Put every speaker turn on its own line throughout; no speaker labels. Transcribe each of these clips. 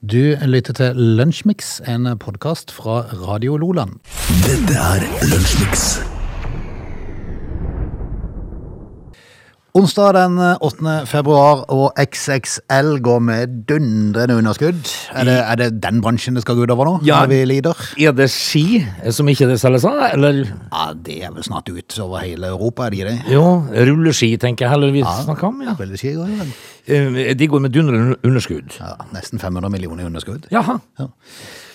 Du lytter til Lunsjmix, en podkast fra Radio Loland.
Dette er Lunsjmix.
Onsdag den 8. februar, og XXL går med dundrende underskudd. Er det, er det den bransjen det skal gå utover nå,
Ja.
når vi lider?
Er det ski som ikke det selges av, eller
Ja, Det er vel snart ut over hele Europa, er det ikke det?
jo, rulleski, tenker jeg heller vi snakker om, ja.
Veldig skje, vel.
Eh, De går med dundrende underskudd.
ja, Nesten 500 millioner i underskudd.
Jaha.
Ja.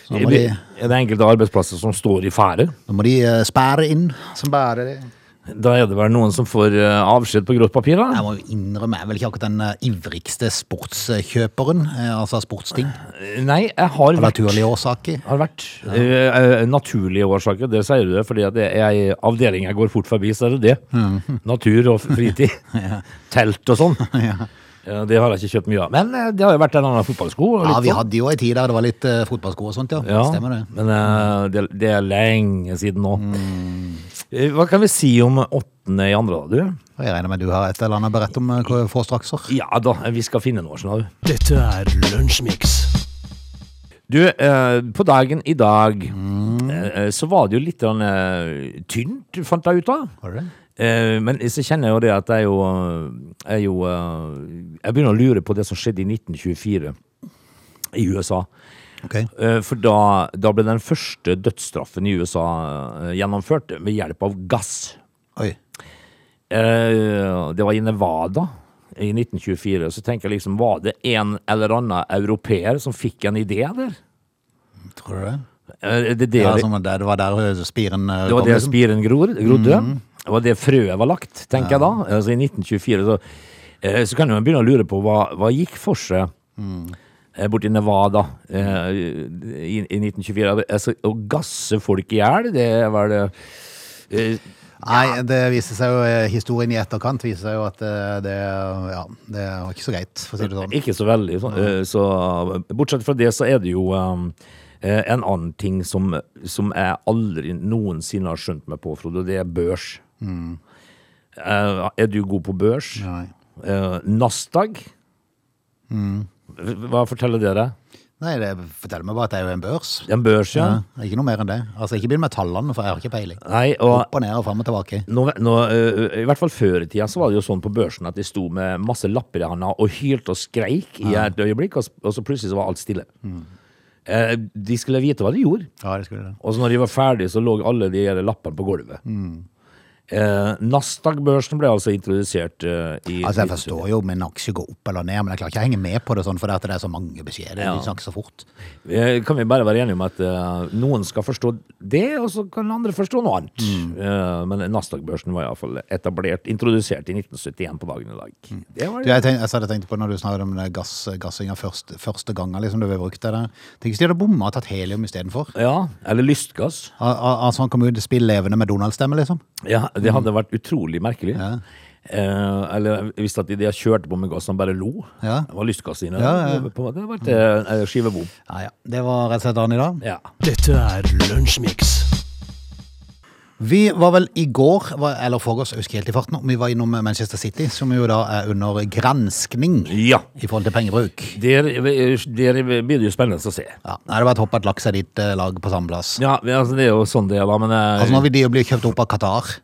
Så nå må, de,
Er det enkelte arbeidsplasser som står i fære?
nå må de eh, spære inn, som bærer det.
Da er det vel noen som får eh, avskjed på grått papir, da?
Jeg må jo innrømme, jeg er vel ikke akkurat den eh, ivrigste sportskjøperen, eh, altså sportsting,
Eh, Nei, jeg har
av
vært
naturlige årsaker.
har vært eh, eh, Naturlige årsaker, det sier du det, fordi at det er ei avdeling jeg går fort forbi, så er det det.
Mhm.
Natur og fritid. Telt og sånn. Eh, Det har jeg ikke kjøpt mye av. Men eh, det har jo vært en annen fotballsko. og
Ja,
litt
vi
sånn.
hadde jo ei tid der det var litt eh, fotballsko og sånt, ja.
Ja,
Stemmer det.
Men eh, det, det er lenge siden nå. Eh, Hva kan vi si om åttende i andre, da, du?
Og jeg regner med du har et eller annet beredt om eh, hva- få strakser.
Ja da, vi skal finne noe snart.
Dette er Lunsjmix.
Du, eh, på dagen i dag eh, eh, så var det jo litt grann, eh, tynt, fant jeg ut av.
Har du det?
Eh, men så kjenner jeg jo det at jeg jo, eh, jeg, jo eh, jeg begynner å lure på det som skjedde i 1924 i USA.
Ok.
Eh, For da, da ble den første dødsstraffen i USA eh, gjennomført med hjelp av gass.
Oi.
Eh, Det var i Nevada i 1924. Så tenker jeg liksom, var det en eller annen europeer som fikk en idé der?
Tror du det?
Eh, Det, det,
Ja,
det,
som der, det var der eh, spiren eh,
var
kom,
der
liksom.
spiren gror, grodde. Det var det frøet var lagt, tenker jeg da. Altså i 1924. Så, eh, så kan man begynne å lure på hva, hva gikk for seg
Mm.
eh, borti Nevada eh, i, i 1924. Altså, å gasse folk i hjel, det var det eh,
Nei, det viser seg jo, eh, historien i etterkant viser seg jo at eh, det, ja, det var ikke så greit, for å si det sånn.
Ikke så veldig. Så, eh, så, bortsett fra det, så er det jo um, eh, en annen ting som, som jeg aldri noensinne har skjønt meg på, Frode, og det er børs. Eh, er du god på børs?
Nei.
Eh, Nasdaq? Hva forteller dere?
Nei, det forteller meg bare at det er jo en børs.
En børs, ja.
Ja, ikke noe mer enn det. Altså, ikke begynn med tallene, for jeg har ikke peiling.
Nei, og
Opp og ned og frem og tilbake.
nå, nå, eh, I hvert fall før i tida så var det jo sånn på børsen at de sto med masse lapper i handa og hylte og skreik i et øyeblikk, og, s- og så plutselig så var alt stille. Eh, de skulle vite hva de gjorde.
Ja, det skulle det.
Og så når de var ferdige, så lå alle de her lappene på gulvet. Eh, Nasdaq-børsen ble altså introdusert eh, i
Altså, jeg forstår jo om en aksje går opp eller ned, men jeg klarer ikke å henge med på det sånn, for det at det er så mange beskjeder.
Ja.
De snakker så fort.
Eh, Kan vi bare være enige om at eh, noen skal forstå det, og så kan andre forstå noe annet. Eh, men Nasdaq-børsen var iallfall etablert, introdusert i 1971 på dagen i dag. Det var
Du, jeg, tenk, altså, jeg hadde tenkt på når du snakket om det gass, gassinga først, første gangen liksom, du ble brukt til det. Tenk hvis de hadde bomma og tatt helium istedenfor.
Ja, eller lystgass.
Altså han kom ut og spilte levende med Donald-stemme, liksom.
Ja, det hadde vært utrolig merkelig. Eh, eller hvis at de, de kjørte på med gass, han bare lo.
Ja.
Det var lystgass inne.
Ja, ja.
På en måte, Det hadde vært eh, eh, skivebom.
Ja, ja. Det var rett og slett dagen i dag.
Ja.
Dette er Lunsjmix.
Vi var vel i går, var- eller forgårs, jeg husker helt i farten, om vi var innom Manchester City, som jo da er under granskning
ja.
i forhold til pengebruk.
Der, der blir det jo spennende å se.
Ja, det hadde vært håp at laks er ditt eh, lag på samme plass.
Ja, men altså, det er jo sånn det er, da. Men eh,
Altså Nå vil de jo bli kjøpt opp av Qatar.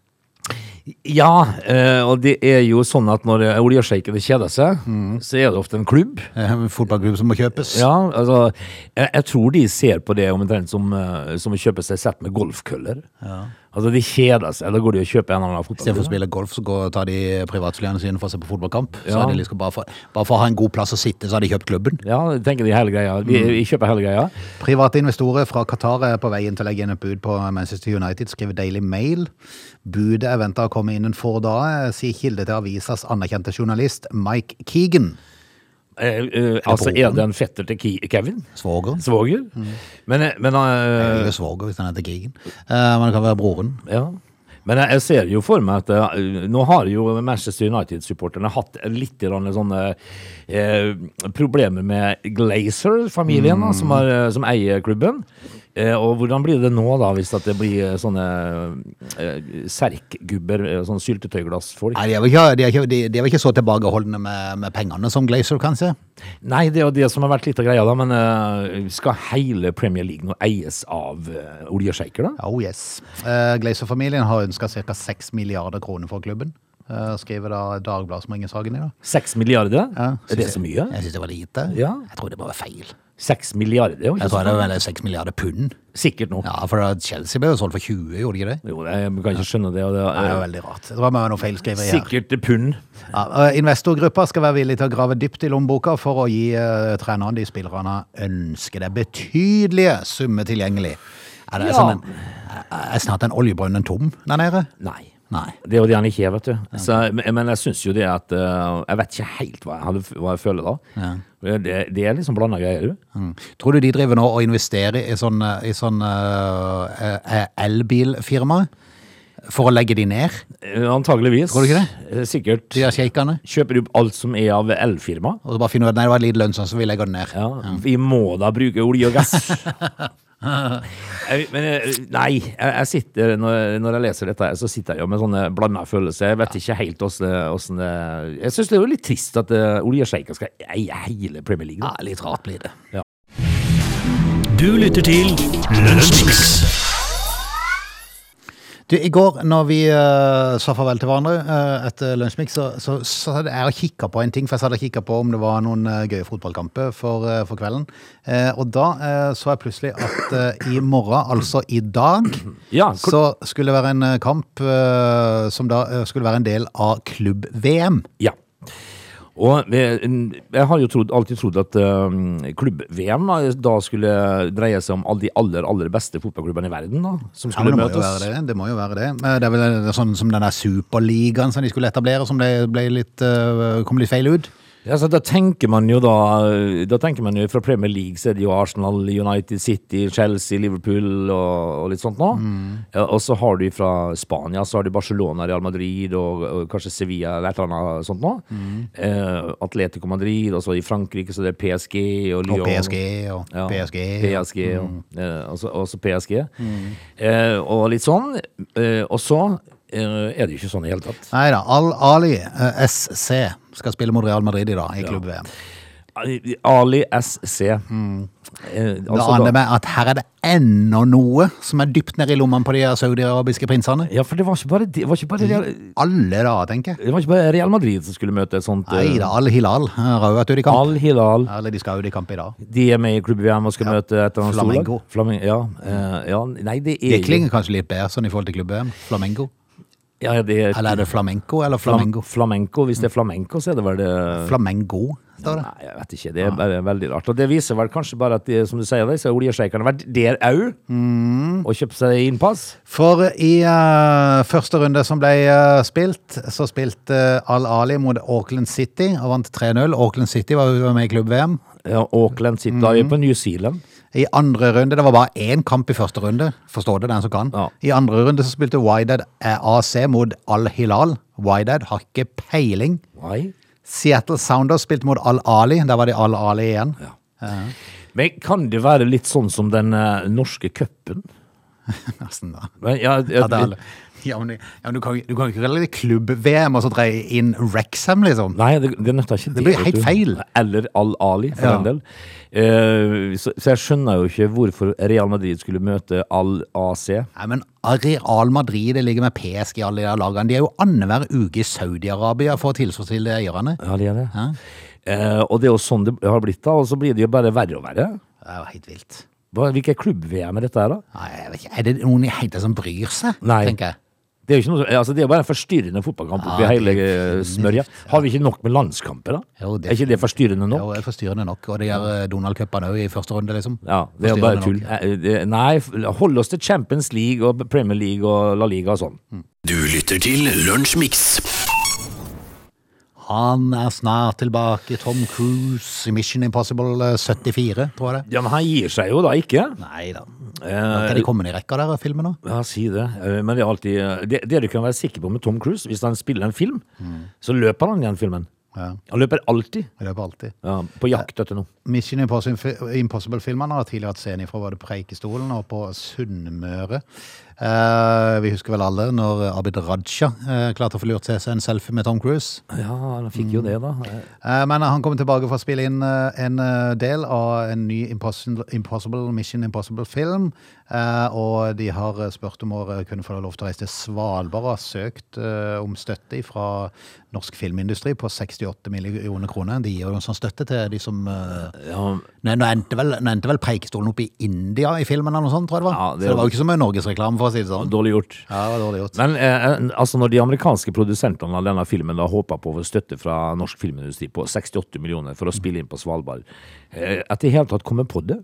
Ja, eh, og det er jo sånn at når eh, oljesjeikene kjeder seg, så er det ofte en klubb.
eh, En fotballklubb som må kjøpes.
Ja, altså, jeg, jeg tror de ser på det omtrent som, eh, som å kjøpe seg sett med golfkøller. Altså, de kjeder seg. Da går de og kjøper en eller annen
Istedenfor å
fotballklubb.
spille golf, så går, tar de privatflyene sine for å se på fotballkamp. Så
Ja.
er de liksom bare, for, bare for å ha en god plass å sitte, så har de kjøpt klubben.
Ja, tenker de hele greia. Vi, vi kjøper hele greia.
Private investorer fra Qatar er på vei inn til å legge inn et bud på Manchester United, skriver Daily Mail. Budet er venta å komme innen få dager, eh, sier kilde til avisas anerkjente journalist Mike Keegan.
Eh, eh, altså, er
broren?
det en fetter til Ki Kevin?
Svogeren.
Svoger? Men, eh, men eh,
Det er jo svoger hvis han heter Keegan. Eh, Men det kan være broren.
Ja. Men jeg, jeg ser jo for meg at eh, nå har jo Manchester United-supporterne hatt litt grann sånne eh, problemer med Glazer-familien, da, som, har, eh, som eier klubben. Eh, og hvordan blir det nå, da, hvis at det blir eh, sånne eh, serkgubber, eh, sånne syltetøyglassfolk?
Nei, de er vel ikke, de er ikke, de, de er vel ikke så tilbakeholdne med, med pengene som Glazer, kanskje?
Nei, det er jo det som har vært litt av greia, da. Men eh, skal hele Premier League nå eies av uh, oljesjeiker, da?
Oh yes. Eh, Glazer-familien har ønska ca. 6 milliarder kroner for klubben. eh, skriver da Dagbladet som ringer saken i dag.
Seks milliarder?
Ja,
er det
synes
så
jeg-
mye?
Jeg syns det var lite.
Ja.
Jeg tror det bare var feil.
Seks milliarder? jo, ikke
Jeg tror
sant?
det var vel 6 milliarder pund.
Sikkert nå.
Ja, for da- Chelsea ble jo solgt for 20, gjorde de ikke det?
Jo, jeg kan ikke skjønne det. Og det
Det er jo
er,
veldig rart. Det var bare noe feilskriveri her.
sikkert pund.
Ja, eh, investorgruppa skal være villig til å grave dypt i lommeboka for å gi eh, trenerne de spillerne ønsker. Det er betydelige summer tilgjengelig. Er det
Ja.
sånn en, er er snart den oljebrønnen tom der nede?
Nei.
Nei.
Det er jo det han ikke er, vet du. Så, men- men jeg syns jo det at eh, Jeg vet ikke helt hva jeg, hadde, hva jeg føler da. Det, det er liksom blanda greier, du.
Mm. Tror du de driver nå og investerer i sånn, i sånn eh, eh, elbilfirma for å legge de ned,
Eh, Antageligvis.
Tror du ikke
Eh, Sikkert.
de der sjeikene?
Kjøper du opp alt som er av elfirma?
Og så bare finne ut nei, det var litt lønnsomt, så vi legger den ned.
Ja, vi må da bruke olje og gass. Jeg- Men eh, nei, jeg- jeg sitter, når når jeg leser dette, her, så sitter jeg jo med sånne blanda følelser. Jeg vet ikke helt åssen åssen det Jeg syns det er jo litt trist at eh, oljesjeiker skal eie hele Premier League. da.
Ja, litt rart blir det.
Du lytter til Lunsjmix.
Du, I går når vi eh, sa farvel til hverandre eh, etter Lunsjmix, så, så, så hadde jeg og kikka på en ting. For jeg hadde kikka på om det var noen eh, gøye fotballkamper for, eh, for kvelden. Eh, og da eh, så jeg plutselig at eh, i morgen, altså i dag,
Ja, hvor-
så skulle det være en eh, kamp eh, som da eh, skulle være en del av klubb-VM.
Ja. Og jeg, jeg har jo trodd, alltid trodd at eh, klubb-VM da, da skulle dreie seg om alle de aller, aller beste fotballklubbene i verden, da, som
Ja, men
skulle
det, må jo
møtes.
være det. det må jo være det. Eh, Det er vel eh, sånn som den der superligaen som de skulle etablere, som ble, ble litt, eh, kom litt feil ut.
Ja, så da tenker man jo da Da tenker man jo fra Premier League så er det jo Arsenal, United City, Chelsea, Liverpool og, og litt sånt nå. Ja, og så har du fra Spania så har du Barcelona, Real Madrid og, og kanskje Sevilla eller et eller annet sånt nå. Eh, Atletico Madrid, og så i Frankrike så det er PSG og Lyon.
Og PSG og
Ja,
PSG. og-
PSG ja. Eh, altså, også PSG. Eh, og litt sånn. Eh, og så eh, er det jo ikke sånn i det hele tatt.
Nei da. Al-Ali eh, SC skal spille mot Real Madrid i dag i klubb-VM.
Ali SC. Eh,
Hmm. Da
altså
aner
da-
det meg at her er det ennå noe som er dypt nede i lommene på de her saudi-arabiske prinsene.
ja, for det var ikke bare, det var ikke bare, Real,
Alle da, tenker jeg.
det var ikke bare Real Madrid som skulle møte et sånt eh,
Nei da, Al-Hilal har jo vært ute eh, i kamp.
Al-Hilal.
Eller de skal ut i kamp i dag.
De er med i klubb-VM og skal møte et eller annet storlag.
Flamengo.
Flamen- ja, eh, ja, nei, det er
Det
jo-
klinger kanskje litt bedre sånn i forhold til klubb-VM. Flamengo.
ja, ja, det er,
Eller er det flamenco eller
flam-
flamengo?
flamenco. Hvis det er flamenco, så er det vel det
Flamengo, står det.
Nei, jeg vet ikke. Det er bare veldig rart. Og det viser vel kanskje bare at, de, som du sier, disse oljesjeikene har vært der au
Hmm.
og kjøpt seg innpass.
For i eh, første runde som ble eh, spilt, så spilte Al-Ali mot Auckland City og vant 3-0. Auckland City var jo med i klubb-VM.
Ja, Auckland sitter
Hmm.
da er på New Zealand.
I andre runde, det var bare én kamp i første runde, forstår det den som kan.
Ja.
I andre runde så spilte Wydad AC mot Al-Hilal. Wydad har ikke peiling.
Nei.
Seattle Sounders spilte mot Al-Ali, der var de Al-Ali igjen.
Ja. Men kan det være litt sånn som den eh, norske cupen?
Nesten da.
Men Ja, ja,
Ja, det er alle. Ja, men, ja, men du kan jo du kan jo ikke relatere klubb-VM og så dreie inn Rexham, liksom.
Nei, det, det nytter ikke.
Det blir
vet
helt
du.
feil.
Eller Al-Ali, for
Ja.
den del. Eh, så, så jeg skjønner jo ikke hvorfor Real Madrid skulle møte Al-AC.
Nei, men Real Madrid det ligger med PSG i alle de der lagene. De er jo annenhver uke i Saudi-Arabia for å tilfredsstille eierne.
Ja, det er det. Eh, og det er jo sånn det har blitt, da. Og så blir det jo bare verre og verre.
Det er jo helt vilt.
Hva, hvilke klubb-VM er dette her, da?
Nei, jeg vet ikke. Er det noen i hele tatt som bryr seg,
Nei.
tenker jeg.
Det er jo ikke noe, som- altså det er jo bare en forstyrrende fotballkamp oppi
Ja,
hele
Ah, det
eh, smørja. Har vi ikke nok med landskamper, da?
Jo,
er ikke det
Jo,
forstyrrende nok?
det er forstyrrende nok, og det gjør eh, Donald Cupen òg i første runde, liksom.
Ja, det er
Forstyrrende
jo bare
nok.
tull. Eh, det- Nei, f- hold oss til Champions League og Premier League og La Liga og sånn.
Du lytter til Lunsjmix.
Han er snart tilbake, Tom Cruise i Mission Impossible eh, 74, tror jeg det.
Ja, men han gir seg jo da ikke.
Nei da.
Eh,
Kan de komme ned i rekka der, filmene?
Ja, si det. Eh, Mm. Men det er alltid eh, Det, det du kan være sikker på med Tom Cruise, hvis han spiller en film, så løper han i den filmen.
Ja.
Han løper alltid
I løpet av alltid.
ja, på jakt etter noe.
Mission Impossi- Impossible-filmene har tidligere hatt scene fra både Preikestolen og på Sunnmøre. Eh, vi husker vel alle når Abid Raja eh, klarte å få lurt til seg en selfie med Tom Cruise.
Ja, han fikk jo det, da.
Eh, men han kommer tilbake for å spille inn eh, en eh, del av en ny Impossible, Impossible Mission Impossible-film. Eh, og de har eh, spurt om å eh, kunne få lov til å reise til Svalbard og har søkt eh, om støtte fra norsk filmindustri på 68 millioner kroner. De gir jo en sånn støtte til de som eh,
Ja,
Nei, nå endte vel, nå endte vel Preikestolen opp i India i filmen eller noe sånt, tror jeg det var.
Ja,
Så
det
det
var-
var jo ikke så mye norgesreklame, for å si det sånn.
dårlig gjort.
Ja, det var dårlig gjort.
Men eh, altså når de amerikanske produsentene av denne filmen da håpa på å få støtte fra norsk filmindustri på 68 millioner for å spille inn på Svalbard, eh, at de i hele tatt kommer på det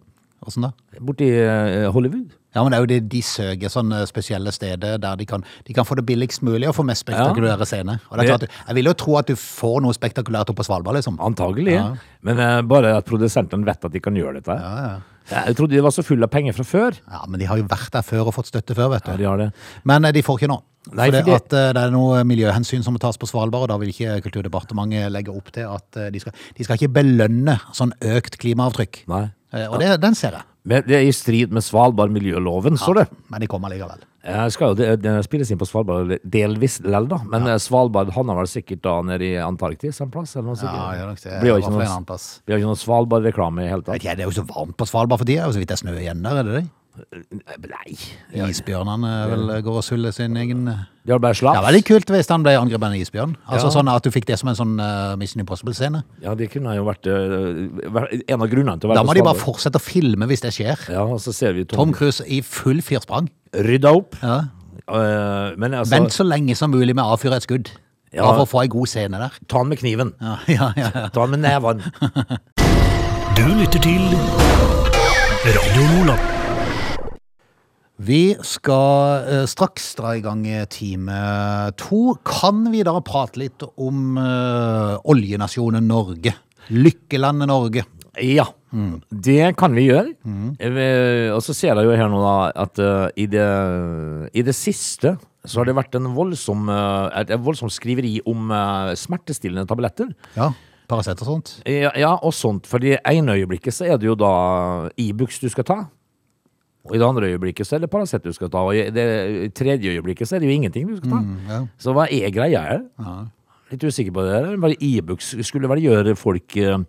Åssen da?
borti eh, Hollywood
Ja, men det er jo det de søker sånne spesielle steder der de kan, de kan få det billigst mulig og få mest spektakulære scener. Og det er klart,
Det-
jeg vil jo tro at du får noe spektakulært oppe på Svalbard, liksom.
Antagelig. Men eh, bare at produsentene vet at de kan gjøre dette. Ja, Jeg trodde de var så fulle av penger fra før.
Ja, men de har jo vært der før og fått støtte før, vet du.
Ja, de har det.
Men eh, de får ikke nå.
Nei,
Fordi
fordi-
at eh, det er noe miljøhensyn som må tas på Svalbard, og da vil ikke Kulturdepartementet legge opp til at eh, de skal, de skal ikke belønne sånn økt klimaavtrykk.
Nei.
Eh, Og det, den ser jeg.
Men det er i strid med Svalbardmiljøloven, står det.
Men de kommer likevel.
Jeg skal jo, det, det spilles inn på Svalbard delvis lell, da. Men eh, Svalbard havner vel sikkert da nede i Antarktis en plass? Eller noe sikkert.
Ja, gjør nok det.
Blir jo
I hvert
ikke
fall en
noe,
annen plass.
blir jo ikke noe Svalbard-reklame i hele
Vet
tatt.
ikke, jeg, det er jo så varmt på Svalbard for tida, og så vidt det er snø igjen der, er det det?
Nei.
Isbjørnene eh, vel går og suller sin egen eh, Det
De har bare slaps.
er veldig kult hvis han ble angrepet av en isbjørn. Altså sånn at du fikk det som en sånn eh, Mission Impossible-scene.
Ja, det kunne jo vært eh, vært en av grunnene til å være
Da må
på
de bare
Svalbard.
fortsette å filme hvis det skjer.
Ja, og så ser vi Tom,
Tom Cruise i full firsprang.
rydda opp.
Ja.
Eh, men altså,
Vent så lenge som mulig med å avfyre et skudd.
Ja.
Bare for å få ei god scene der.
ta han med kniven.
Ja, ja, ja.
Ta han med neven.
Du lytter til Radio Nordland.
Vi skal eh, straks dra i gang eh, time to. Kan vi da prate litt om eh, oljenasjonen Norge? Lykkelandet Norge.
Ja, det kan vi gjøre. Eh, Og så ser jeg jo her nå da at eh, i, det, i det siste så har det vært en voldsom, eh, et et voldsomt skriveri om eh, smertestillende tabletter.
Ja, Paracet og sånt.
Ja, ja, og sånt. For i ene øyeblikket så er det jo da Ibux du skal ta. Og i det andre øyeblikket så er det Paracet du skal ta. Og i det tredje øyeblikket så er det jo ingenting du skal ta.
ja.
Så hva er greia her? Litt usikker på det. der. Bare Ibux skulle vel gjøre folk eh,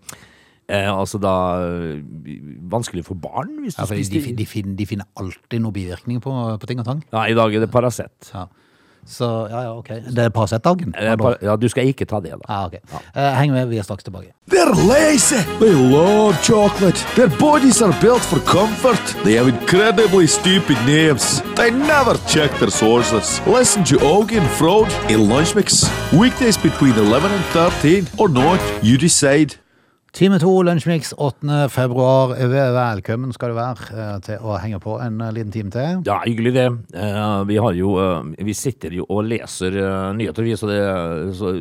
eh, altså da eh, vanskelig for barn? Hvis du
Ja, fordi de,
spiste-
de, finner, de finner alltid noen bivirkninger på, på ting og tang.
Nei, i dag er det Paracet.
Ja. Så ja, ja, ok. Det er Paracet-dagen?
Eh, par- Ja, du skal ikke ta det, da.
Ja, ok. Eh, Heng med, vi er straks tilbake.
They're lazy. They love chocolate. Their bodies are built for comfort. They have incredibly stupid names. They never check their sources. Listen to Augie and Frode in Lunch Mix. Weekdays between 11 and 13 or not, you decide.
Time to, Lunsjmix 8. februar. Velkommen skal du være eh, til å henge på en eh, liten time til.
Ja, hyggelig det. Eh, vi har jo eh, Vi sitter jo og leser eh, nyheter, vi, så, det, så,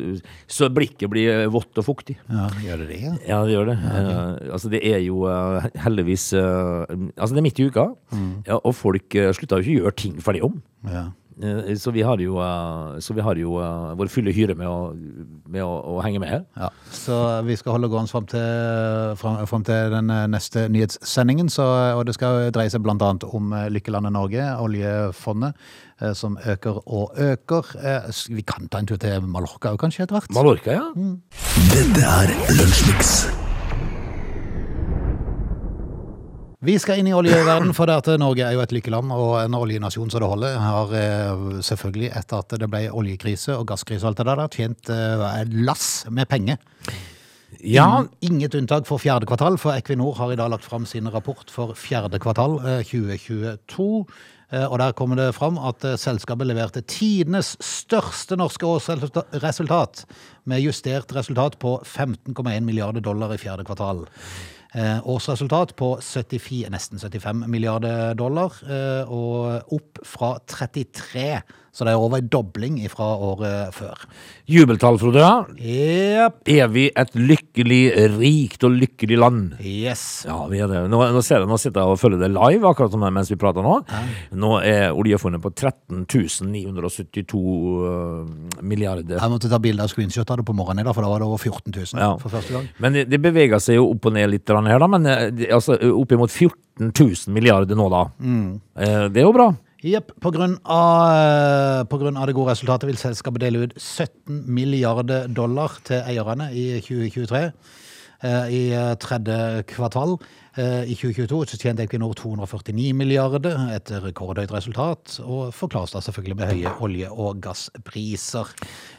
så blikket blir eh, vått og fuktig.
Ja, gjør det det? ja?
Ja, det gjør det. Eh, altså, det er jo eh, heldigvis eh, Altså, det er midt i uka, ja, og folk eh, slutter jo ikke å gjøre ting ferdig om.
Ja.
Eh, Så vi har jo, eh, så vi har jo eh, vår fulle hyre med å, med å, å henge med her.
Ja, så eh, vi skal holde gående fram til, eh, fram, fram til den eh, neste nyhetssendingen. Så, eh, og det skal dreie seg bl.a. om eh, Lykkelandet Norge, oljefondet, eh, som øker og øker. Eh, s- Vi kan ta en tur til Mallorca òg, kanskje, etter hvert?
Mallorca, ja.
Dette er Lunsjmix.
Vi skal inn i oljeverden, for det at Norge er jo et lykkeland og en oljenasjon som det holder. Har eh, selvfølgelig, etter at det ble oljekrise og gasskrise og alt det der, der, tjent eh, et lass med penger.
ja.
Inget unntak for fjerde kvartal, for Equinor har i dag lagt fram sin rapport for fjerde kvartal eh, 2022. Eh, Og der kommer det fram at eh, selskapet leverte tidenes største norske årsresultat, med justert resultat på 15,1 milliarder dollar i fjerde kvartal. Eh, Årsresultat på 74, nesten 75 milliarder dollar, eh, og opp fra 33 Så det er over en dobling fra året før.
Jubeltall, Frode.
Jepp.
Er vi et lykkelig, rikt og lykkelig land?
Yes.
Ja, vi er det. Nå, nå, ser jeg, nå sitter jeg og følger det live akkurat som mens vi prater nå. Nå er oljefondet på 13 972 øh, milliarder.
Jeg måtte ta bilde av screenshot av det på morgenen, i dag, for da var det over 14 000
Ja.
for første gang.
Men det, det beveger seg jo opp og ned litt grann her, da. Men eh, det- altså, oppimot 14 000 milliarder nå, da. Eh, Det er jo bra.
Jepp. På, grunn av- på grunn av det gode resultatet vil selskapet dele ut 17 milliarder dollar til eierne i 2023. Eh, I eh, tredje kvartal eh, i 2022 så tjente Equinor 249 milliarder, et rekordhøyt resultat, og forklares da selvfølgelig med høye olje- og gasspriser.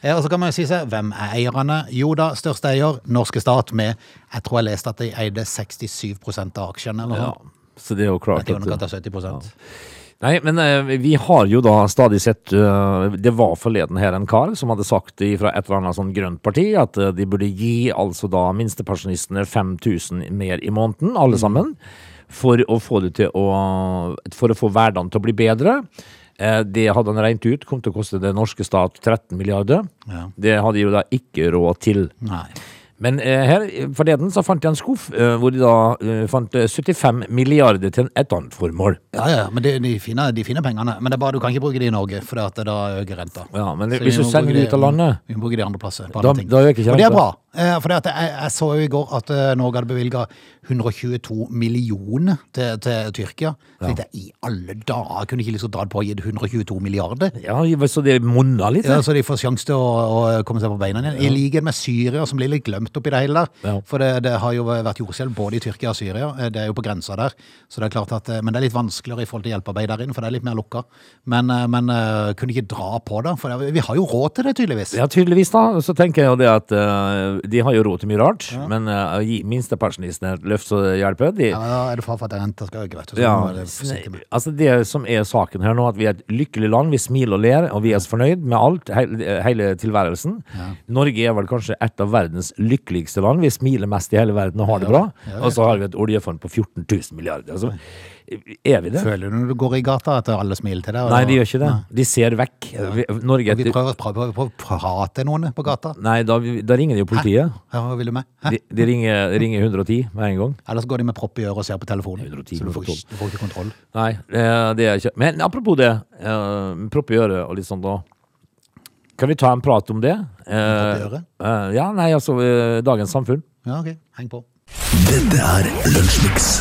Eh, Og så kan man jo si seg, hvem er eierne? Jo da, største eier, norske stat med, jeg tror jeg leste at de eide 67 av aksjene, eller noe
Ja.
sånt.
Så det er jo klart
Rett i underkant
at
av 70
Nei, men eh, vi har jo da stadig sett eh, Det var forleden her en kar som hadde sagt fra et eller annet sånn grønt parti at eh, de burde gi altså da minstepensjonistene 5000 mer i måneden, alle sammen. For å få det til å For å få hverdagen til å bli bedre. Eh, Det hadde han regnet ut kom til å koste den norske stat 13 milliarder.
Ja.
Det hadde de jo da ikke råd til.
Nei.
Men eh, her eh, forleden så fant jeg en skuff eh, hvor de da eh, fant eh, 75 milliarder til et annet formål.
Ja, ja, men de, de, finner, de finner pengene. Men det er bare du kan ikke bruke de i Norge, for at da øker renta.
Ja, men
Så vi
hvis du
må
sender
bruke
det
de-
ut av landet
Vi må bruke de andre plasser. på
Da-
andre ting.
da øker ikke
Og det er
renta.
bra. For jeg, jeg så jo i går at eh, Norge hadde bevilga 122 millioner til, til Tyrkia. Så tenkte jeg, i alle dager kunne ikke liksom dratt på og gitt 122 milliarder?
Ja, så det munner litt.
Ja,
det.
så de får sjanse til å, å komme seg på beina igjen. I likhet med Syria, som blir litt glemt oppi det hele der.
Ja.
For det, det har jo vært jordskjelv både i Tyrkia og Syria. Eh, Det er jo på grensa der. Så det er klart at, eh, men det er litt vanskeligere i forhold til hjelpearbeid der inne, for det er litt mer lukka. Men, eh, men eh, kunne ikke dra på det. For det, vi har jo råd til det, tydeligvis.
Ja, tydeligvis da, så tenker jeg jo det at eh, de har jo råd til mye rart, men uh, gi minstepensjonistene et løft så det hjelper. De,
Ja,
ja,
men da er det far for at renta skal øke, vet du. Så må det forsiktig med.
altså det som er saken her nå, at vi er et lykkelig land, vi smiler og ler, og vi er så fornøyd med alt, hele, hele tilværelsen. Norge er vel kanskje et av verdens lykkeligste land, vi smiler mest i hele verden og har det bra, og så har vi et oljefond på 14 000 milliarder. Altså, er vi det?
Føler du når du går i gata at alle smiler til deg? og-
Nei, de gjør ikke det. De ser vekk. Vi, Norge er
Vi
et...
prøver, prøver, prøver å prate noen på gata.
Nei, da, da ringer de jo politiet.
Ja, hva vil du med? Hæ?
De, de ringer, ringer 110 med en gang.
Eller så går de med propp i øret og ser på telefonen.
110,
så du får, ikke- du får ikke kontroll.
Nei, eh, det er ikke Men apropos det, eh, propp i øret og litt sånn da. Kan vi ta en prat om det? Eh,
Propp i øret?
eh, ja, nei, altså eh, dagens samfunn.
Ja, ok. Heng på.
Dette er Lunsjmix.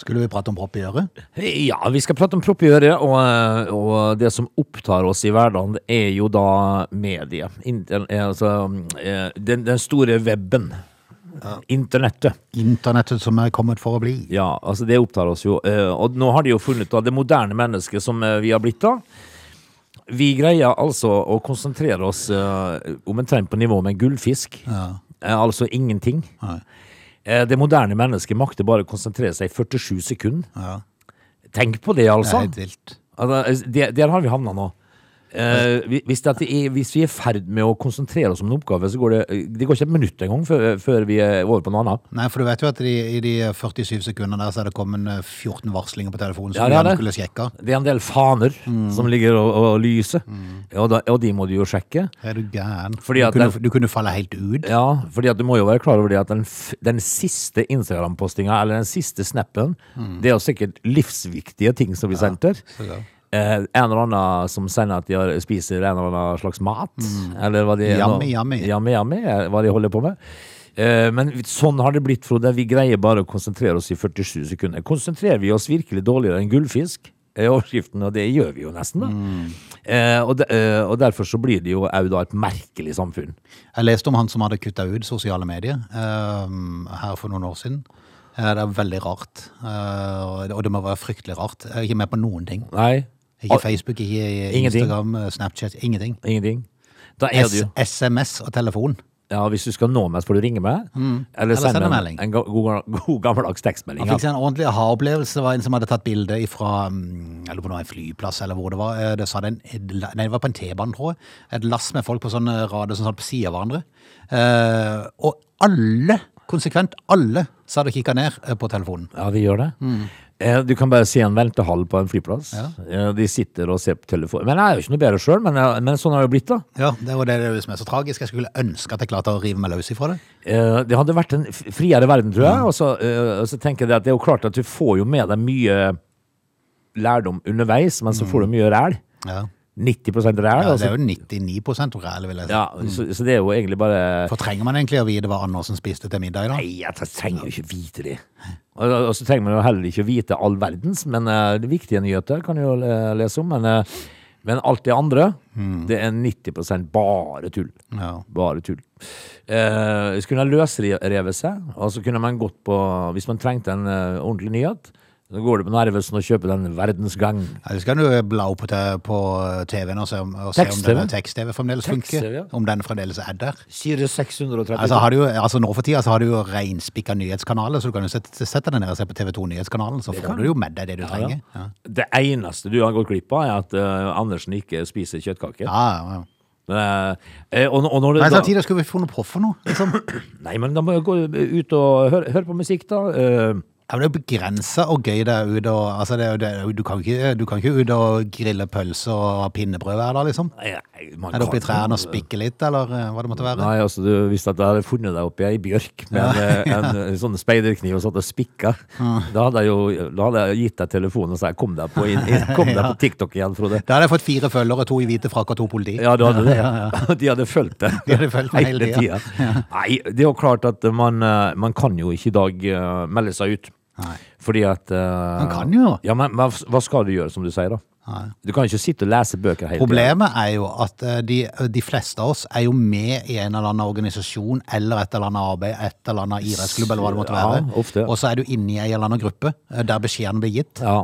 Skulle vi prate om propp i øret?
Hei, Ja, vi skal prate om propp i øret, og, eh, og det som opptar oss i hverdagen, det er jo da mediet. Inter, eh, altså, eh, den, den store webben. Internettet.
Internettet som er kommet for å bli.
Ja, altså det opptar oss jo. Eh, Og nå har de jo funnet da det moderne mennesket som eh, vi har blitt da. Vi greier altså å konsentrere oss eh, omtrent på nivå med en gullfisk. Eh, Altså ingenting.
Nei.
Eh, Det moderne mennesket makter bare å konsentrere seg i 47 sekunder.
Ja.
Tenk på det,
Det er
altså.
helt vilt.
altså det, der har vi havna nå. Eh, vi- hvis, det at det er, hvis vi er i ferd med å konsentrere oss om en oppgave, så går det, eh, det går ikke et minutt engang før, før vi er over på noe annet.
Nei, for du vet jo at de, i de 47 sekundene der så er det kommet eh, 14 varslinger på telefonen som
Ja,
du
det er
gjerne
det.
skulle sjekka.
Det er en del faner som ligger og, og lyser, og, da, og de må du jo sjekke.
Er du gæren?
Fordi at
du, kunne,
den-
du kunne falle helt ut.
Ja, fordi at du må jo være klar over det at den, f- den siste Instagram-postinga, eller den siste snappen, det er jo sikkert livsviktige ting som blir sendt der.
så Mm. ja.
Eh, en eller annen som sender at de har- spiser en eller annen slags mat, eller hva de
Mm. Yummy,
nå-
yummy.
Yummy, yummy, eh, hva de holder på med. Eh, Men sånn har det blitt, Frode. Vi greier bare å konsentrere oss i 47 sekunder. Konsentrerer vi oss virkelig dårligere enn gullfisk? er overskriften, og det gjør vi jo nesten, da.
Mm.
Eh, og, de, eh, og derfor så blir det jo òg da et merkelig samfunn.
Jeg leste om han som hadde kutta ut sosiale medier ehm, her for noen år siden. Eh, Det er veldig rart, eh, og det- og det må være fryktelig rart. Jeg er ikke med på noen ting.
Nei.
Ikke
Al-
Facebook, ikke
Ingenting.
Instagram, eh, Snapchat, ingenting.
Ingenting. Da er det
S
jo
SMS og telefon.
Ja, hvis du skal nå meg, så får du ringe meg. Eller
Mm. send
sende
en
en,
melding.
en ga- god, god gammeldags tekstmelding.
Han fikk
Ja.
seg en ordentlig aha-opplevelse. Det var en som hadde tatt bilde fra eller på noe, en flyplass eller hvor det var. Eh, Det, sa det, en, nei, det var på en T-bane, tror jeg. Et lass med folk på sånne rader som satt på siden av hverandre. Eh, og alle, konsekvent alle, så hadde jeg kikka ned eh, på telefonen.
Ja, de gjør det. Eh, Du kan bare se en veltehall på en flyplass.
Mm. Ja.
Eh, De sitter og ser på telefon. Men jeg er jo ikke noe bedre sjøl, men, jeg- men sånn har det jo blitt, da.
Ja, Det var det det er jo som er så tragisk. Jeg skulle ønske at jeg klarte å rive meg løs ifra det.
Eh, Det hadde vært en f- friere verden, tror
Mm.
jeg. Og så, eh, og så tenker jeg at det er jo klart at du får jo med deg mye lærdom underveis, men så får du mye ræl.
Ja,
90 ræl.
Mm. ja
og
Det
så-
er jo 99 ræl, vil jeg si.
altså- ja, så, så det er jo egentlig bare
For trenger man egentlig å vite hva Andersen spiste til middag i dag?
Nei, jeg tre- trenger jo ikke vite det. Og, og og så trenger man jo heller ikke vite all verdens, men eh, det viktige nyheter kan jo eh, lese om. Men, eh, men alt det andre, det er 90 bare tull.
Ja.
Bare tull. Eh, så kunne jeg løsrevet seg, og så kunne man gått på Hvis man trengte en eh, ordentlig nyhet, så går du på Narvesen og kjøper den Verdensgang.
Ja, så kan du bla opp på te- på TV-en og se om, og se om
Tekst-TV?
denne tekst-TV fremdeles funker.
Tekst-TV, ja.
Om den fremdeles er der.
Syre 630
Altså, har du, jo- altså Nå for tida så har du jo reinspikka nyhetskanaler, så du kan jo sette, sette deg ned og se på TV2 Nyhetskanalen, så får du jo med deg det du
Ja,
trenger.
ja.
Ja.
Det eneste du har gått glipp av, er at eh, Andersen ikke spiser kjøttkaker.
Ja, ja, ja.
Men, eh, og, og når det
Men
da-
samtidig skulle vi funnet på for noe. Liksom.
Nei, men da må jeg gå ut og høre, høre på musikk, da. Eh,
Ja, men det er jo begrensa og gøy der ute. og- Altså, det, er jo- det, er jo- du, kan jo ikke, du kan ikke ut og grille pølse og ha pinnebrød hver dag, liksom.
nei, nei, man
Er det oppe i
kan-
trærne og spikke litt, eller eh, hva det måtte være?
Nei, altså, du visste at jeg hadde funnet deg oppi ei bjørk med en, eh, en eh, sånn speiderkniv og satt og spikka. Da hadde jeg jo da hadde jeg gitt deg telefonen og sagt 'kom deg på, inn, inn, kom deg på TikTok igjen, Frode'.
Da hadde jeg fått fire følgere, to i hvite frakk og to politi.
Ja, du hadde det. De hadde fulgt det
De hadde fulgt meg hele tiden.
tiden. Nei, det er jo klart at man, eh, man kan jo ikke i dag eh, melde seg ut.
Nei.
Fordi at eh,
Man kan jo.
Ja, men, men hva skal du gjøre, som du sier, da?
Nei.
Du kan ikke sitte og lese bøker hele tiden.
Problemet er jo at eh, de, de fleste av oss er jo med i en eller annen organisasjon eller et eller annet arbeid, et eller annet idrettsklubb eller hva det måtte
Ja,
være.
ofte.
Og så er du inne i en eller annen gruppe eh, der beskjeden blir gitt.
Ja.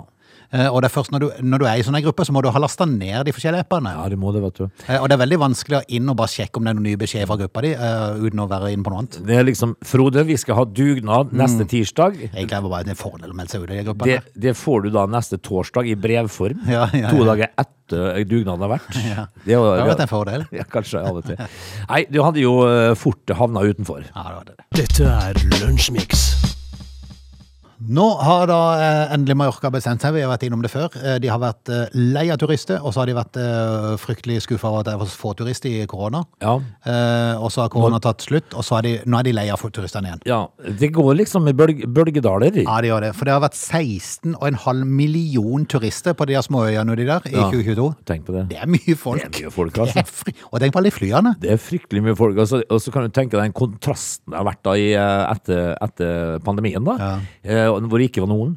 Eh, Og det er først når du, når du er i sånne grupper, så må du ha lasta ned de forskjellige appene.
ja, du må det, vet du.
Eh, Og det er veldig vanskelig å inn og bare sjekke om det er noen nye beskjeder fra gruppa di, eh, uten å være inne på noe annet.
Det er liksom Frode, vi skal ha dugnad
Mm.
neste tirsdag.
Egentlig er det bare en fordel å melde seg ut i de
Det,
gruppene.
det får du da neste torsdag i brevform.
Ja, ja, ja.
To dager etter dugnaden har vært.
Ja.
Det, er jo-
Det har vært en fordel.
Ja, kanskje av og til. Nei, du hadde jo eh, fort havna utenfor.
Ja, det var det.
Dette er Lunsjmix.
Nå har da eh, endelig Mallorca bestemt seg, vi har vært innom det før. Eh, De har vært eh, lei av turister, og så har de vært eh, fryktelig skuffa over at det er for få turister i korona.
Ja.
Eh, Og så har korona tatt slutt, og så er de, nå er de lei av turistene igjen.
ja. Det går liksom i bølg, bølgedaler.
Ja, de gjør det. For det har vært 16,5 million turister på de her småøyene uti der i
Ja.
2022.
Tenk på det.
Det er mye folk.
Det er mye folk,
Det er
altså.
fri- Og tenk på alle de flyene.
Det er fryktelig mye folk. Og så, og så kan du tenke deg den kontrasten det har vært da i, eh, etter, etter pandemien, da. Eh, og hvor det ikke var noen.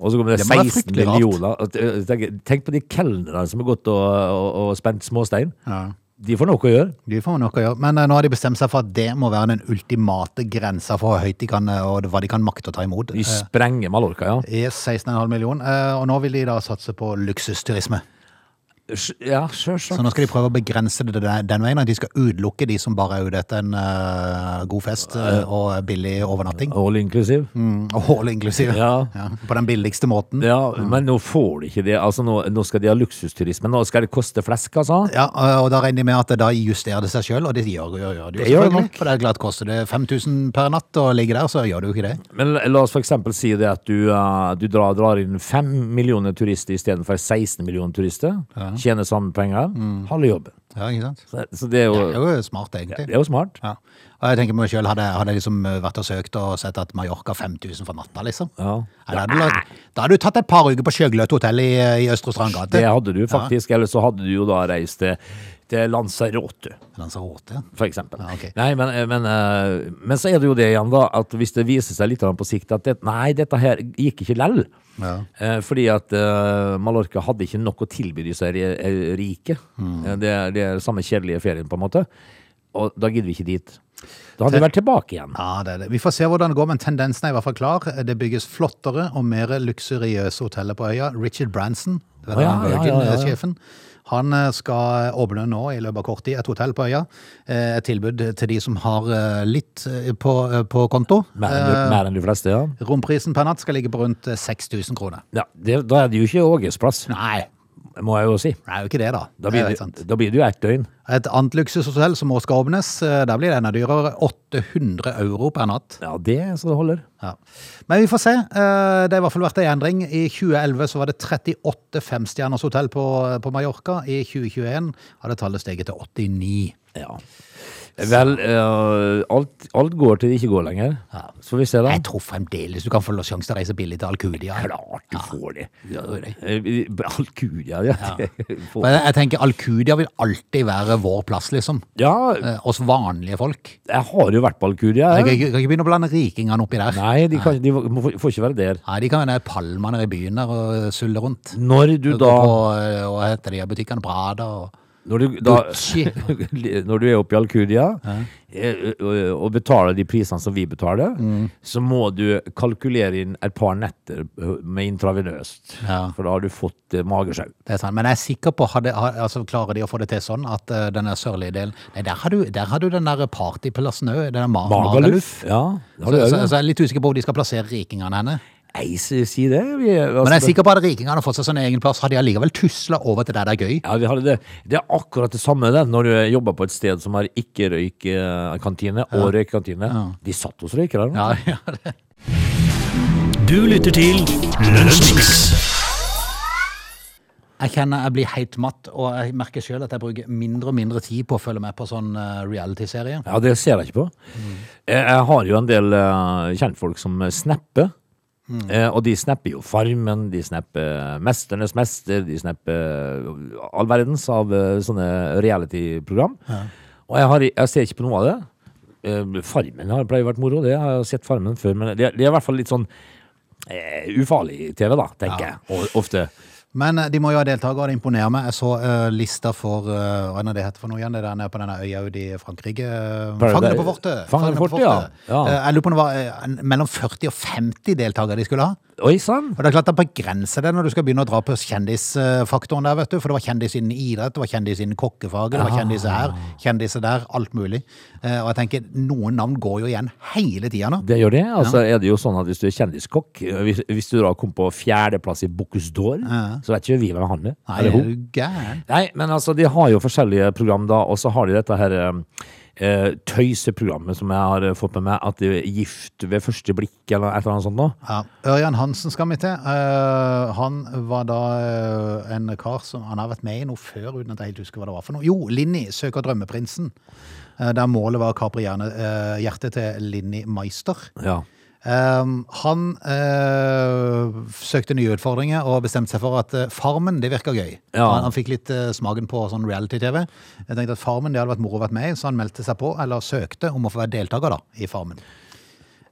Og så kommer det
Mm. Det må være
16
fryktelig rart.
millioner. Og t- eh, Tenk, tenk på de kelnerne som har gått og, og, og spent småstein. De får noe å gjøre.
De får nok å gjøre. Men eh, nå har de bestemt seg for at det må være den ultimate grensa for hvor høyt de kan, eh, og hva de kan makte å ta imot. Eh,
De sprenger Mallorca, ja.
Yes, 16,5 million. Eh, Og nå vil de da satse på luksusturisme.
Sj- Ja,
Så
sjølsagt.
nå skal de prøve å begrense det den, den veien, at de skal utelukke de som bare er ute etter en eh, god fest eh, og billig overnatting.
All inclusive.
Mm, Og all inclusive.
Ja.
på den billigste måten.
Ja, men nå får de ikke det. Altså, nå, nå skal de ha luksusturisme. Nå skal det koste flesk, altså.
Ja, eh, og da regner de med at da justerer det seg sjøl, og det gjør, gjør, gjør det
Det
jo
gjør det
selvfølgelig.
nok.
For det er klart, koster det 5000 per natt å ligge der, så gjør det jo ikke det.
Men la oss for eksempel si det at du, eh, du drar, drar inn 5 millioner turister istedenfor 16 millioner turister. Tjener samme penger. Halve jobben.
Ja, ikke sant?
Så, så det er
Det er
jo,
jo smart,
det
egentlig.
er jo smart.
Ja. Og jeg tenker meg selv, hadde, hadde jeg liksom vært og søkt og sett at Mallorca 5000 for natta, liksom.
Ja.
Ja, da, hadde du, lagt- da hadde du tatt et par uker på Sjøgløtt hotell i, eh, i Østre Strandgate.
Det hadde du faktisk. Eller så hadde du jo da reist til, til Lanzarote,
Men altså, råte, ja.
for eksempel.
Ja, ok.
Nei, men, eh, men, eh, men så er det jo det igjen, da, at hvis det viser seg litt grann på sikt at det, nei, dette her gikk ikke lell.
Ja.
Eh, Fordi at eh, Mallorca hadde ikke nok å tilby disse ri- eh, rike. Eh, Det er det er samme kjedelige ferien, på en måte. Og da gidder vi ikke dit. Da hadde vi vært tilbake igjen.
Ja, det er det. Vi får se hvordan det går, men tendensen er i hvert fall klar. Det bygges flottere og mer luksuriøse hoteller på øya. Richard Branson,
Å, ja, ja, ja, ja, ja.
Virgin-sjefen, han eh, skal åpne nå i løpet av kort tid et hotell på øya. Eh, Et tilbud til de som har eh, litt eh, på, eh, på konto.
Mer enn,
Eh,
de- mer enn de fleste, ja.
Romprisen per natt skal ligge på rundt eh, 6000 kroner.
ja det, da er det jo ikke Åges plass.
Nei.
må jeg jo si.
Det er jo ikke det, da.
Da
Det er
blir
jo
det,
helt sant.
da blir det jo ett døgn.
Et annet luksushotell som også skal åpnes, eh, der blir det enda dyrere. 800 euro per natt.
Ja, det er så det holder.
Ja. Men vi får se. Eh, Det er i hvert fall vært en endring. I 2011 så var det 38 femstjerners hotell på, på Mallorca. I 2021 hadde tallet steget til 89.
Ja. Vel, eh, alt, alt går til det ikke går lenger.
Ja.
Så får vi se, da.
Jeg tror fremdeles du kan få sjanse til å reise billig til Alcudia.
Klart du får det.
Ja, det er det.
Eh, Alcudia, ja. det får-
Men jeg tenker Alcudia vil alltid være vår plass, liksom.
Ja,
Eh, Oss vanlige folk.
jeg har jo vært på Alcudia.
Jeg
jeg.
kan ikke, kan ikke begynne å blande rikingene oppi der.
Nei, de, kan, de må- får ikke være der.
Nei, de kan være nede i palmene i byen der og sulle rundt.
Når du
Gå
da,
på, eh, hva heter de her butikkene? Brada og
når du, da
Gucci.
Når du er oppe i Alcudia eh, og- og betaler de prisene som vi betaler,
Mm.
så må du kalkulere inn et par netter med intravenøst.
Ja.
For da har du fått eh, magesjau.
Det er sant, men jeg er sikker på, hadde, ha- altså, klarer de å få det til sånn at eh, den der sørlige delen Nei, der har du, der har du den der partyplassen òg, den der Ma- Magaluf.
Magaluf. Ja, det
Så,
har du
så, så
også.
jeg er litt usikker på hvor de skal plassere rikingene henne.
Nei, si si det. Vi, altså,
Men jeg er sikker på at rikingene har fått seg sånn egen plass, hadde de allikevel tusla over til der det er gøy.
Ja, vi hadde det. det er akkurat det samme det, når du jobber på et sted som har ikke-røyk-kantine og røykekantine. De satt hos røykere. nå.
Ja, ja.
Du lytter til Lunsjmix.
Jeg kjenner jeg blir helt matt, og jeg merker sjøl at jeg bruker mindre og mindre tid på å følge med på sånn eh, reality-serie.
Ja, det ser jeg ikke på. Jeg, jeg har jo en del eh, kjentfolk som eh, snapper. Eh, og de snapper jo Farmen, de snapper Mesternes mester, de snapper all verdens av eh, sånne reality-program. Og jeg, har, jeg ser ikke på noe av det. Eh, farmen har pleier å vært moro, det har jeg sett Farmen før. Men det, er- det er i hvert fall litt sånn eh, ufarlig TV, da, tenker jeg. Og, ofte.
Men eh, de må jo ha deltakere, det imponerer meg. Jeg så eh, lista for eh, Hva er det det heter for noe igjen? Det der nede på denne øya ute i Frankrike? eh,
Paradise-
Fangene på fortet!
Fangene på fortet, ja. Ja.
Eh, jeg lurer på om det var eh, en- mellom 40 og 50 deltakere de skulle ha.
Oi sann!
Og det er klart det begrenser det når du skal begynne å dra på kjendisfaktoren der, vet du. For det var kjendis innen idrett, det var kjendis innen kokkefaget, det var kjendiser
Ah.
her, kjendiser der, alt mulig. Eh, og jeg tenker, noen navn går jo igjen hele tida nå.
Det gjør det. Altså er det jo sånn at Hvis du er kjendiskokk, hvis, hvis du da kom på fjerdeplass i Bocuse d'Or, så vet ikke vi hvem han er.
Nei,
Eller
er
hun.
du gæren?
Nei, men altså, de har jo forskjellige program da, og så har de dette her eh, tøyseprogrammet som jeg har eh, fått med meg, at det er gift ved første blikk eller et eller annet sånt nå.
Ja. Ørjan Hansen skal vi til. Eh, han var da eh, en kar som Han har vært med i noe før, uten at jeg helt husker hva det var for noe. Jo, Linni søker drømmeprinsen. Eh, der målet var å kapre hjerne- eh, hjertet til Linni Meister.
Ja.
Ehm, han eh, søkte nye utfordringer og bestemte seg for at eh, Farmen, det virka gøy.
Ja.
Han, han fikk litt eh, smaken på sånn reality-TV. Jeg tenkte at Farmen det hadde vært moro å vært med i, så han meldte seg på, eller søkte om å få være deltaker da, i Farmen.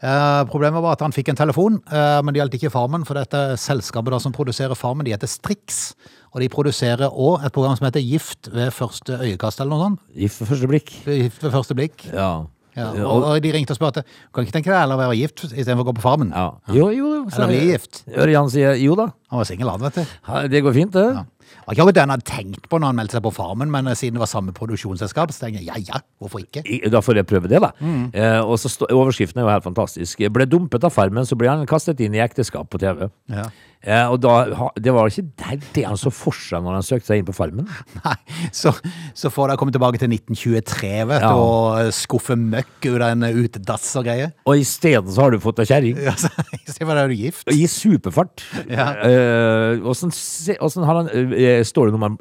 Eh, problemet var at han fikk en telefon, eh, men det gjaldt ikke Farmen. For dette selskapet da, som produserer Farmen, de heter Strix. Og de produserer òg et program som heter Gift ved første øyekast, eller noe sånt.
Gift ved første blikk.
Gift ved første blikk.
Ja.
Ja,
Eh,
og,
og-
og de ringte og spurte Kan ikke tenke deg heller å være gift istedenfor å gå på Farmen.
ja. Jo, jo, jo.
Eller bli gift.
Ørjan sier jo da.
Han var singel, han, vet du.
Ha, Det går fint, det.
Ja. Det var ikke akkurat det han hadde tenkt på når han meldte seg på Farmen, men eh, siden det var samme produksjonsselskap, så tenkte jeg ja ja, hvorfor ikke?
I- Da får jeg prøve det, da.
Mm.
Eh, og så stå, Overskriften er jo helt fantastisk. Ble dumpet av Farmen, så ble han kastet inn i ekteskap på TV.
Ja.
Eh, og da, ha- Det var ikke det, det han så for seg når han søkte seg inn på Farmen.
Nei, så, så får de komme tilbake til 1923 vet, du,
Ja.
og eh, skuffe møkk ut av en eh, utedass og greier.
Og isteden så har du fått deg kjerring.
Ja, så, så var det jo gift.
I superfart.
Ja.
Eh, åssen se- åssen har han eh, Står det noe om han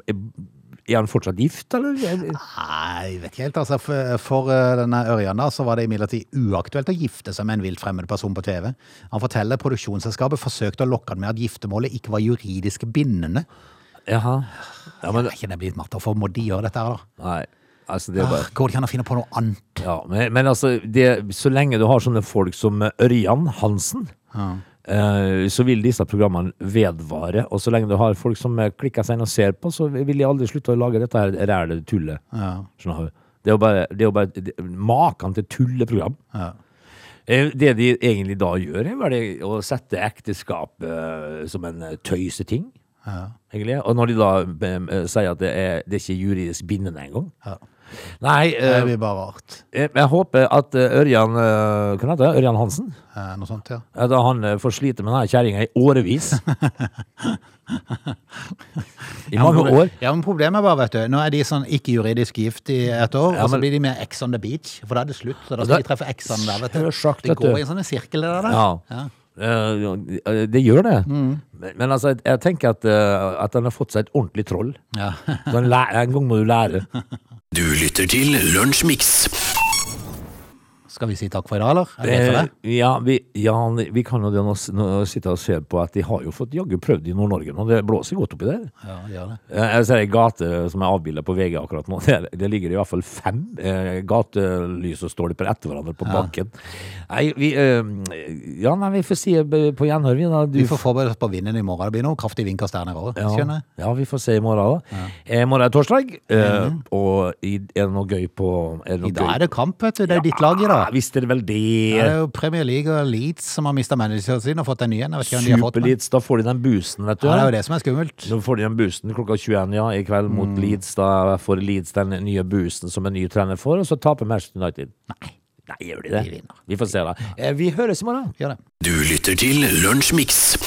Er han fortsatt gift, eller?
Ah. Nei, jeg vet ikke helt. Altså, for, for eh, denne Ørjan da, så var det imidlertid uaktuelt å gifte seg med en vilt fremmed person på TV. Han forteller produksjonsselskapet forsøkte å lokke han med at giftermålet ikke var juridisk bindende.
Jaha. Ja, men
Er ikke det blitt matt? Hvorfor må de gjøre dette her, da?
Nei. Altså, det er bare
Ah, Går det ikke an å finne på noe annet?
Ja, men, men altså, det, så lenge du har sånne folk som Ørjan Hansen, eh, så vil disse programmene vedvare. Og så lenge du har folk som eh, klikker seg inn og ser på, så vil de aldri slutte å lage dette her ræle tullet. Skjønner du? Det er jo bare, det er jo bare det, maken til tulleprogram. Eh, Det de egentlig da gjør, er bare det å sette ekteskap eh, som en eh, tøyseting. eh, Egentlig. Og når de da eh, sier at det er, det er ikke juridisk bindende engang,
Ja.
Nei,
Det
eh,
blir bare rart.
jeg, jeg håper at eh, Ørjan eh, Hva heter det? Ørjan Hansen?
Eh, Noe sånt, ja.
At han eh, får slite med denne kjerringa i årevis. I mange år.
Ja, men Problemet er bare, vet du, nå er de sånn ikke-juridisk gift i et år,
Ja,
og så
men-
blir de med Ex on the beach, for da er det slutt. Så da
Ja,
skal de treffe Ex-en der, vet du.
selvsagt,
det
vet
går
du.
i en sånn sirkel, det der.
Ja.
Ja. Mm.
Eh, eh, det gjør det. Men, men altså, jeg, jeg tenker at, eh, at han har fått seg et ordentlig troll.
Ja.
Så han læ- en gang må du lære.
Du lytter til Lunsjmix.
Skal vi si takk for i dag, eller? Er det greit for
Eh,
deg?
ja, vi, ja, vi kan jo det nå, s- nå sitte og se på at de har jo fått jaggu prøvd i Nord-Norge nå. Det blåser godt oppi der.
Ja, det gjør det.
Eh, Jeg ser ei gate som er avbilda på VG akkurat nå. Der, der ligger det i hvert fall fem eh, gatelys og stolper etter hverandre på bakken. Nei, vi eh, Ja, nei, vi får si eh, på gjenhør, vi. Da. Du,
Vi får forberede oss på vinden i morgen. Det blir noen kraftige vindkast der nede òg,
ja,
skjønner jeg.
ja, vi får se i morgen, da. I morgen er torsdag, eh, og i, er det noe gøy på er det noe
Mhm. I dag er det kamp, vet du. Det er jo ditt lag i
Ja,
dag.
visst er det vel det.
Det er jo Premier League og Leeds som har mista manageren sin og fått en ny en. Jeg vet ikke hvem de har fått men-
Superleeds, da får de den boosten, vet du.
Ja, det er jo det som er skummelt.
Nå får de den boosten klokka 21 ja, i kveld
Mm.
mot Leeds. Da får Leeds den nye boosten som en ny trener får, og så taper Manchester United. Nei, Nei gjør de det?
De vinner.
Vi får se, da. Eh, Vi høres i morgen.
Gjør det.
Du lytter til Lunsjmix.